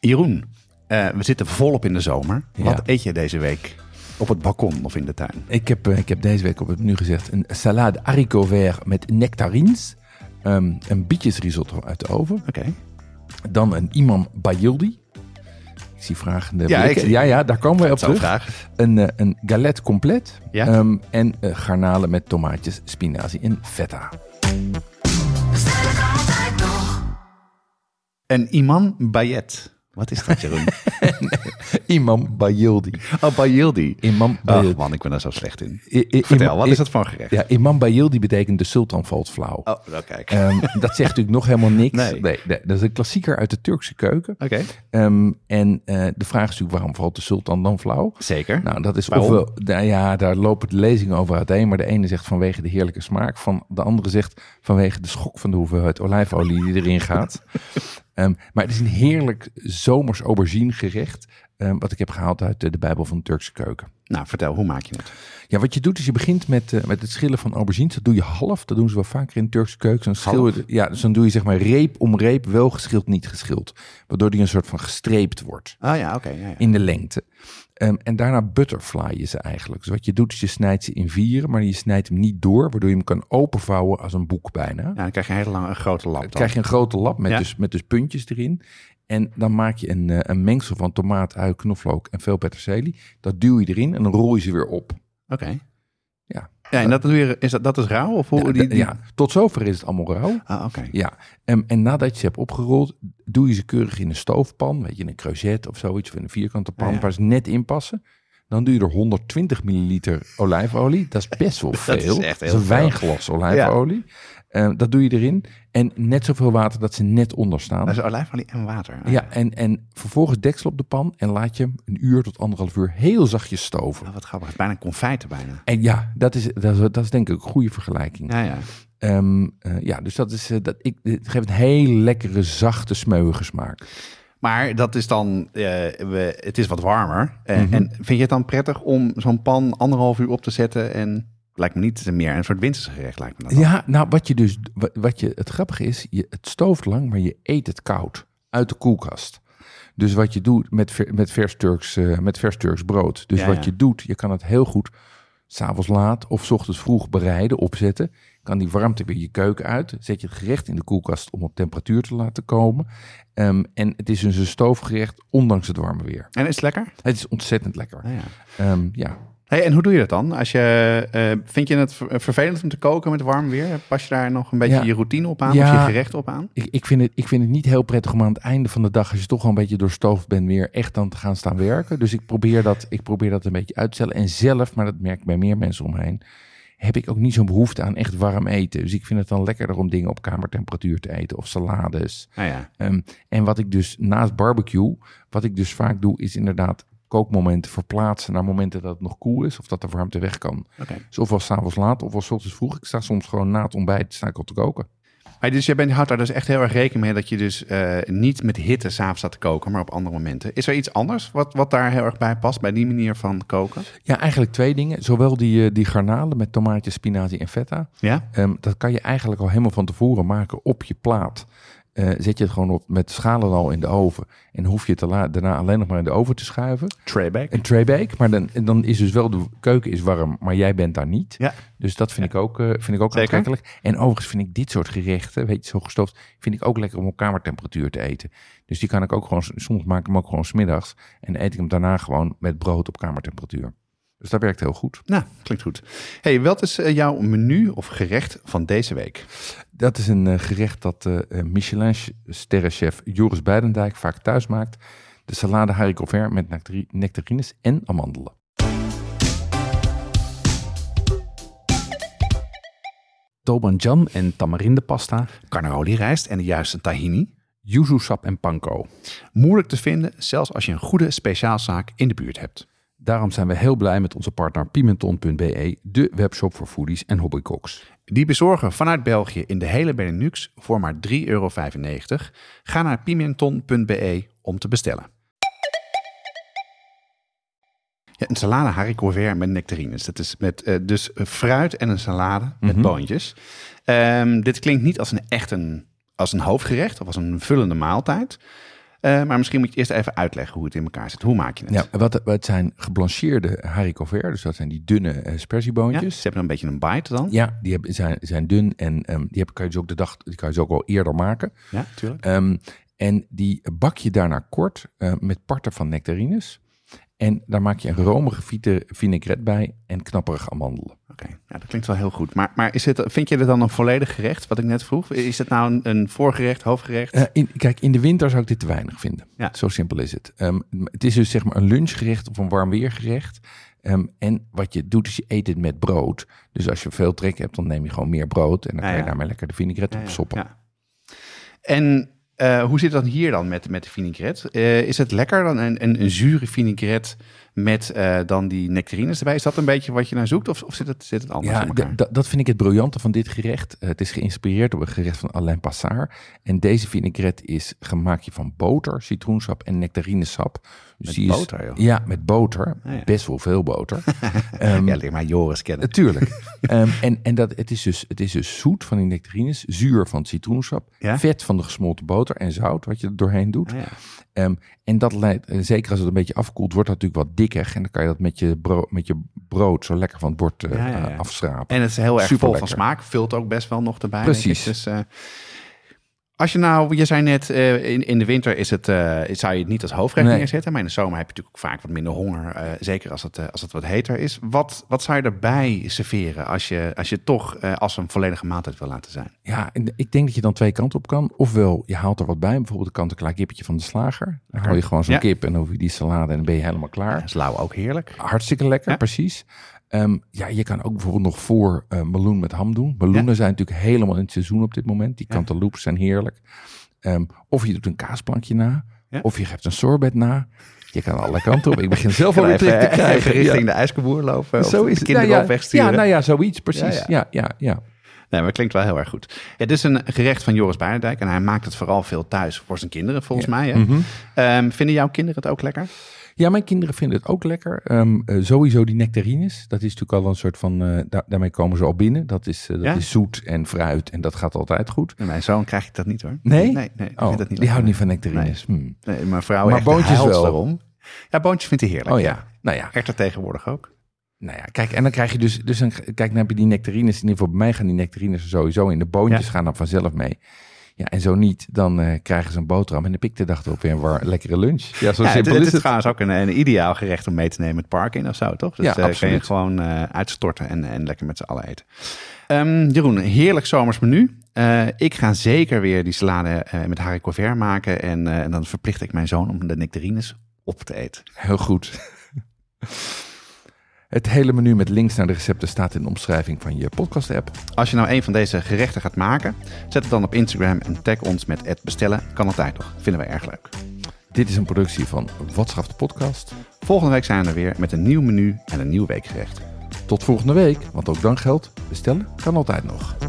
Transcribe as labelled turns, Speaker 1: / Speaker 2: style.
Speaker 1: Jeroen, eh, we zitten volop in de zomer.
Speaker 2: Ja.
Speaker 1: Wat eet je deze week? Op het balkon of in de tuin?
Speaker 2: Ik heb, eh, ik heb deze week op het menu gezegd een salade haricot vert met nectarines. ehm, een bietjesrisotto uit de oven.
Speaker 1: Oké.
Speaker 2: Dan een imam bayildi. Ik zie vragende
Speaker 1: Ja,
Speaker 2: blikken.
Speaker 1: ik-
Speaker 2: ja, ja, daar komen wij op
Speaker 1: Zou
Speaker 2: terug.
Speaker 1: graag.
Speaker 2: Een, eh, een galette complet.
Speaker 1: Ja.
Speaker 2: ehm, en eh, garnalen met tomaatjes, spinazie en feta.
Speaker 1: Een imam bayet. Wat is dat, Jeroen?
Speaker 2: Imam bayildi.
Speaker 1: oh, bayildi.
Speaker 2: Imam
Speaker 1: Ach
Speaker 2: bayildi.
Speaker 1: man, ik ben daar zo slecht in.
Speaker 2: I- i-
Speaker 1: Oh, Vertel,
Speaker 2: imam-
Speaker 1: wat
Speaker 2: i-
Speaker 1: is dat voor een gerecht?
Speaker 2: Ja, imam bayildi betekent de sultan valt flauw.
Speaker 1: Oh, nou kijk.
Speaker 2: Ehm, dat zegt natuurlijk nog helemaal niks.
Speaker 1: Nee. Oh,
Speaker 2: dat is een klassieker uit de Turkse keuken.
Speaker 1: Oké.
Speaker 2: Ehm, en eh, de vraag is natuurlijk, waarom valt de sultan dan flauw?
Speaker 1: Zeker.
Speaker 2: Nou, dat is
Speaker 1: Waarom?
Speaker 2: ofwel, nou ja, daar lopen de lezingen over uiteen. Maar de ene zegt vanwege de heerlijke smaak. Van, de andere zegt vanwege de schok van de hoeveelheid olijfolie die erin gaat. Ehm, maar het is een heerlijk zomers aubergine gerecht. ehm, wat ik heb gehaald uit eh, de Bijbel van de Turkse keuken.
Speaker 1: Nou, vertel, hoe maak je het?
Speaker 2: Ja, wat je doet is je begint met, eh, met het schillen van aubergines. Dat doe je half. Dat doen ze wel vaker in de Turkse keukens. Dan schil je de- ja, dus dan doe je zeg maar reep om reep, wel geschild, niet geschild. Waardoor die een soort van gestreept wordt
Speaker 1: Ah ja, oké. ja, ja.
Speaker 2: in de lengte. Ehm, en daarna butterfly je ze eigenlijk. Dus wat je doet is je snijdt ze in vieren, maar je snijdt hem niet door, waardoor je hem kan openvouwen als een boek bijna.
Speaker 1: Ja, dan krijg je een hele lange, een grote lap. Dan.
Speaker 2: Dan krijg je een grote lap met,
Speaker 1: Ja.
Speaker 2: dus, met dus puntjes erin. En dan maak je een, eh, een mengsel van tomaat, ui, knoflook en veel peterselie. Dat duw je erin en dan rol je ze weer op.
Speaker 1: Oké.
Speaker 2: Ja.
Speaker 1: Ja, en dat is, weer, is, dat, dat is rauw? Of hoe,
Speaker 2: Ja,
Speaker 1: die,
Speaker 2: d-
Speaker 1: Oh, die-
Speaker 2: ja, tot zover is het allemaal rauw.
Speaker 1: Ah, oké.
Speaker 2: Ja, en, en nadat je ze hebt opgerold, doe je ze keurig in een stoofpan, weet je, in een creuset of zoiets, of in een vierkante pan,
Speaker 1: Ja, ja.
Speaker 2: waar ze net in passen. Dan doe je er 120 milliliter olijfolie. Dat is best wel veel.
Speaker 1: is echt
Speaker 2: Dat
Speaker 1: heel
Speaker 2: een
Speaker 1: veel.
Speaker 2: wijnglas olijfolie. Eh, dat doe je erin. En net zoveel water dat ze net onder staan.
Speaker 1: Dat is olijfolie en water. Ah,
Speaker 2: Ja, en, en vervolgens deksel op de pan en laat je hem een uur tot anderhalf uur heel zachtjes stoven.
Speaker 1: ah, wat grappig. Het is bijna een confijten bijna.
Speaker 2: En ja, dat is, dat is, dat is denk ik een goede vergelijking.
Speaker 1: Ja, ja.
Speaker 2: Ehm, eh, ja, dus dat is, eh, dat, ik, het geeft een heel lekkere, zachte, smeuïge smaak.
Speaker 1: Maar dat is dan, eh, we, het is wat warmer. Eh, En vind je het dan prettig om zo'n pan anderhalf uur op te zetten? En lijkt me niet meer een soort winterse gerecht, lijkt me dat. dan.
Speaker 2: Ja, nou, wat je dus, wat, wat je, het grappige is, je, het stooft lang, maar je eet het koud uit de koelkast. Dus wat je doet met, ver- met, vers, Turks, eh, met vers Turks brood. Dus
Speaker 1: Ja,
Speaker 2: wat
Speaker 1: ja.
Speaker 2: je doet, je kan het heel goed s'avonds laat of 's ochtends vroeg bereiden, opzetten. Kan die warmte weer je keuken uit. Zet je het gerecht in de koelkast om op temperatuur te laten komen. Ehm, en het is dus een stoofgerecht, ondanks het warme weer.
Speaker 1: En is het lekker?
Speaker 2: Het is ontzettend lekker.
Speaker 1: Ah, ja.
Speaker 2: Ehm, ja,
Speaker 1: Hey, en hoe doe je dat dan? Als je, eh, vind je het ver- vervelend om te koken met warm weer? Pas je daar nog een beetje
Speaker 2: Ja.
Speaker 1: je routine op aan?
Speaker 2: Ja.
Speaker 1: Of je gerecht op aan?
Speaker 2: Ik, ik, vind het, ik vind het niet heel prettig om aan het einde van de dag, als je toch al een beetje doorstoofd bent, weer echt dan te gaan staan werken. Dus ik probeer dat, ik probeer dat een beetje uit te stellen. En zelf, maar dat merk ik bij meer mensen omheen, heb ik ook niet zo'n behoefte aan echt warm eten. Dus ik vind het dan lekkerder om dingen op kamertemperatuur te eten of salades.
Speaker 1: Ah, ja.
Speaker 2: Ehm, en wat ik dus naast barbecue, wat ik dus vaak doe, is inderdaad kookmomenten verplaatsen naar momenten dat het nog koel is of dat de warmte weg kan.
Speaker 1: Oké.
Speaker 2: Dus ofwel s'avonds laat ofwel 's ochtends vroeg. Ik sta soms gewoon na het ontbijt sta ik al te koken.
Speaker 1: Maar dus je bent, houdt daar dus echt heel erg rekening mee dat je dus eh, niet met hitte s'avonds staat te koken, maar op andere momenten. Is er iets anders wat, wat daar heel erg bij past, bij die manier van koken?
Speaker 2: Ja, eigenlijk twee dingen. Zowel die, eh, die garnalen met tomaatjes, spinazie en feta.
Speaker 1: Ja?
Speaker 2: Ehm, dat kan je eigenlijk al helemaal van tevoren maken op je plaat. Eh, zet je het gewoon op met schalen al in de oven. En hoef je het daarna- daarna alleen nog maar in de oven te schuiven.
Speaker 1: Trayback.
Speaker 2: Een traybake, maar dan, en dan is dus wel de keuken is warm, maar jij bent daar niet.
Speaker 1: Ja.
Speaker 2: Dus dat vind ik ook, eh, vind ik ook
Speaker 1: Zeker.
Speaker 2: aantrekkelijk. En overigens vind ik dit soort gerechten, weet je, zo gestoofd, vind ik ook lekker om op kamertemperatuur te eten. Dus die kan ik ook gewoon, soms maak ik hem ook gewoon smiddags en eet ik hem daarna gewoon met brood op kamertemperatuur. Dus dat werkt heel goed.
Speaker 1: Nou, klinkt goed. hey, wat is eh, jouw menu of gerecht van deze week?
Speaker 2: Dat is een eh, gerecht dat eh eh, Michelin-sterrenchef Joris Beidendijk vaak thuis maakt. De salade haricot vert met nectari- nectarines en amandelen.
Speaker 3: Tobanjan en tamarindepasta,
Speaker 1: Carnaroli rijst en de juiste tahini.
Speaker 3: yuzu sap en panko.
Speaker 1: Moeilijk te vinden, zelfs als je een goede speciaalzaak in de buurt hebt.
Speaker 3: Daarom zijn we heel blij met onze partner pimenton.be, de webshop voor foodies en hobbycooks.
Speaker 1: Die bezorgen vanuit België in de hele Benelux voor maar 3,95 euro. Ga naar pimenton.be om te bestellen. Ja, een salade haricot vert met nectarines. Dat is met eh, dus fruit en een salade met boontjes. Ehm, dit klinkt niet als een echt een, als een hoofdgerecht of als een vullende maaltijd. Eh, maar misschien moet je het eerst even uitleggen hoe het in elkaar zit. Hoe maak je het?
Speaker 2: Ja, wat, wat zijn geblancheerde haricot vert, dus dat zijn die dunne eh
Speaker 1: Ja,
Speaker 2: sperzieboontjes.
Speaker 1: Ze hebben een beetje een bite dan.
Speaker 2: Ja, die hebben, zijn, zijn dun en ehm, die heb, kan je dus ook de dag, die kan je dus ook al eerder maken.
Speaker 1: Ja, tuurlijk.
Speaker 2: Ehm, en die bak je daarna kort eh, met parten van nectarines. En daar maak je een romige vite- vinaigrette bij en knapperige amandelen.
Speaker 1: Oké, ja, dat klinkt wel heel goed. Maar, maar is het, vind je dit dan een volledig gerecht, wat ik net vroeg? Is het nou een, een voorgerecht, hoofdgerecht?
Speaker 2: Eh, in- kijk, in de winter zou ik dit te weinig vinden.
Speaker 1: Ja.
Speaker 2: Zo simpel is het. Ehm, het is dus zeg maar een lunchgerecht of een warm weergerecht. Ehm, en wat je doet is je eet het met brood. Dus als je veel trek hebt, dan neem je gewoon meer brood. En dan
Speaker 1: Ja,
Speaker 2: kan je
Speaker 1: ja.
Speaker 2: daarmee lekker de vinaigrette
Speaker 1: Ja,
Speaker 2: op
Speaker 1: ja,
Speaker 2: soppen.
Speaker 1: ja. En eh, hoe zit dat hier dan met, met de vinaigrette? Eh, is het lekker dan een, een, een zure vinaigrette met eh, dan die nectarines erbij? Is dat een beetje wat je naar zoekt of, of zit, het, zit het anders in elkaar?
Speaker 2: d- dat- dat vind ik het briljante van dit gerecht. Eh, het is geïnspireerd door een gerecht van Alain Passard. En deze vinaigrette is gemaakt van boter, citroensap en nectarinesap. Dus
Speaker 1: Met
Speaker 2: die is-
Speaker 1: boter, joh.
Speaker 2: Ja, met boter.
Speaker 1: Ah, ja.
Speaker 2: Best wel veel boter. Ehm,
Speaker 1: ja, leer maar Joris kennen.
Speaker 2: Natuurlijk. Ehm, en en dat, het, is dus, het is dus zoet van die nectarines, zuur van het citroensap,
Speaker 1: Ja?
Speaker 2: vet van de gesmolten boter en zout, wat je er doorheen doet.
Speaker 1: Ah, ja.
Speaker 2: Ehm, en dat leidt, eh, zeker als het een beetje afkoelt, wordt dat natuurlijk wat dikker. En dan kan je dat met je, bro- met je brood zo lekker van het bord eh,
Speaker 1: Ja, ja, ja.
Speaker 2: eh, afschrapen.
Speaker 1: En het is heel erg vol
Speaker 2: Superlekker.
Speaker 1: van smaak. Vult ook best wel nog erbij. denk ik.
Speaker 2: Precies.
Speaker 1: Dus, eh, als je nou, je zei net, eh, in, in de winter is het, eh, zou je het niet als hoofdgerecht
Speaker 2: Nee.
Speaker 1: neerzetten. Maar in de zomer heb je natuurlijk ook vaak wat minder honger. eh, zeker als het, eh, als het wat heter is. Wat, wat zou je erbij serveren als je, als je het toch eh, als een volledige maaltijd wil laten zijn?
Speaker 2: Ja, en ik denk dat je dan twee kanten op kan. Ofwel, je haalt er wat bij, bijvoorbeeld een kant-en-klaar kippetje van de slager. Dan haal je gewoon zo'n
Speaker 1: Ja.
Speaker 2: kip en dan hoef je die salade en dan ben je helemaal klaar.
Speaker 1: Is lauw ook heerlijk?
Speaker 2: Hartstikke lekker,
Speaker 1: Ja.
Speaker 2: precies. Ehm, ja, je kan ook bijvoorbeeld nog voor eh, meloen met ham doen. Meloenen zijn natuurlijk helemaal in het seizoen op dit moment. Die
Speaker 1: Ja.
Speaker 2: cantaloupes zijn heerlijk. Ehm, of je doet een kaasplankje na.
Speaker 1: Ja.
Speaker 2: Of je geeft een sorbet na. Je kan alle kanten op. Ik begin zelf al
Speaker 1: Gewoon
Speaker 2: weer trek te
Speaker 1: even,
Speaker 2: krijgen.
Speaker 1: even
Speaker 2: Ja.
Speaker 1: richting de ijskerboer lopen. Zo is de
Speaker 2: Nou
Speaker 1: kinderen
Speaker 2: ja,
Speaker 1: op wegsturen.
Speaker 2: Ja, nou ja, zoiets, precies.
Speaker 1: Ja,
Speaker 2: Ja, ja, ja.
Speaker 1: Nee, maar het klinkt wel heel erg goed. Het is een gerecht van Joris Baardijk en hij maakt het vooral veel thuis voor zijn kinderen, volgens mij. Hè?
Speaker 2: Mhm.
Speaker 1: Ehm, vinden jouw kinderen het ook lekker?
Speaker 2: Ja, mijn kinderen vinden het ook lekker. Ehm, eh, sowieso die nectarines. Dat is natuurlijk al een soort van... eh, daar- daarmee komen ze al binnen. Dat, is, eh, dat
Speaker 1: Ja?
Speaker 2: is zoet en fruit en dat gaat altijd goed.
Speaker 1: Nee, mijn zoon krijg ik dat niet hoor.
Speaker 2: Nee?
Speaker 1: Nee, nee ik
Speaker 2: Oh,
Speaker 1: vind dat niet
Speaker 2: die
Speaker 1: lekker.
Speaker 2: houdt niet van nectarines. Hmm.
Speaker 1: Nee, mijn vrouw
Speaker 2: Maar
Speaker 1: echt de
Speaker 2: boontjes
Speaker 1: huilt
Speaker 2: wel.
Speaker 1: daarom. Ja, boontjes vindt hij heerlijk.
Speaker 2: Oh ja. Nou ja,
Speaker 1: Echt er tegenwoordig ook.
Speaker 2: Nou ja, kijk, en dan krijg je dus, dus dan, kijk, dan heb je die nectarines. In ieder geval bij mij gaan die nectarines er sowieso in. De boontjes gaan dan vanzelf mee. Ja, en zo niet, dan eh, krijgen ze een boterham. En de pik de dag erop weer een war- lekkere lunch. Ja, zo
Speaker 1: Ja, het,
Speaker 2: simpel
Speaker 1: het
Speaker 2: is Nou, het.
Speaker 1: trouwens ook een, een ideaal gerecht om mee te nemen het park in of zo, toch? Dus
Speaker 2: Ja,
Speaker 1: eh, kan je
Speaker 2: absoluut.
Speaker 1: het gewoon eh, uitstorten en, en lekker met z'n allen eten. Ehm, Jeroen, een heerlijk zomers menu. Eh, ik ga zeker weer die salade eh, met haricot vert maken. En, eh, en dan verplicht ik mijn zoon om de nectarines op te eten.
Speaker 2: Heel goed. Het hele menu met links naar de recepten staat in de omschrijving van je podcast-app.
Speaker 1: Als je nou een van deze gerechten gaat maken, zet het dan op Instagram en tag ons met het bestellen. Kan altijd nog. Vinden wij erg leuk.
Speaker 2: Dit is een productie van Watschaf de Podcast.
Speaker 1: Volgende week zijn we er weer met een nieuw menu en een nieuw weekgerecht.
Speaker 2: Tot volgende week, want ook dan geldt, bestellen kan altijd nog.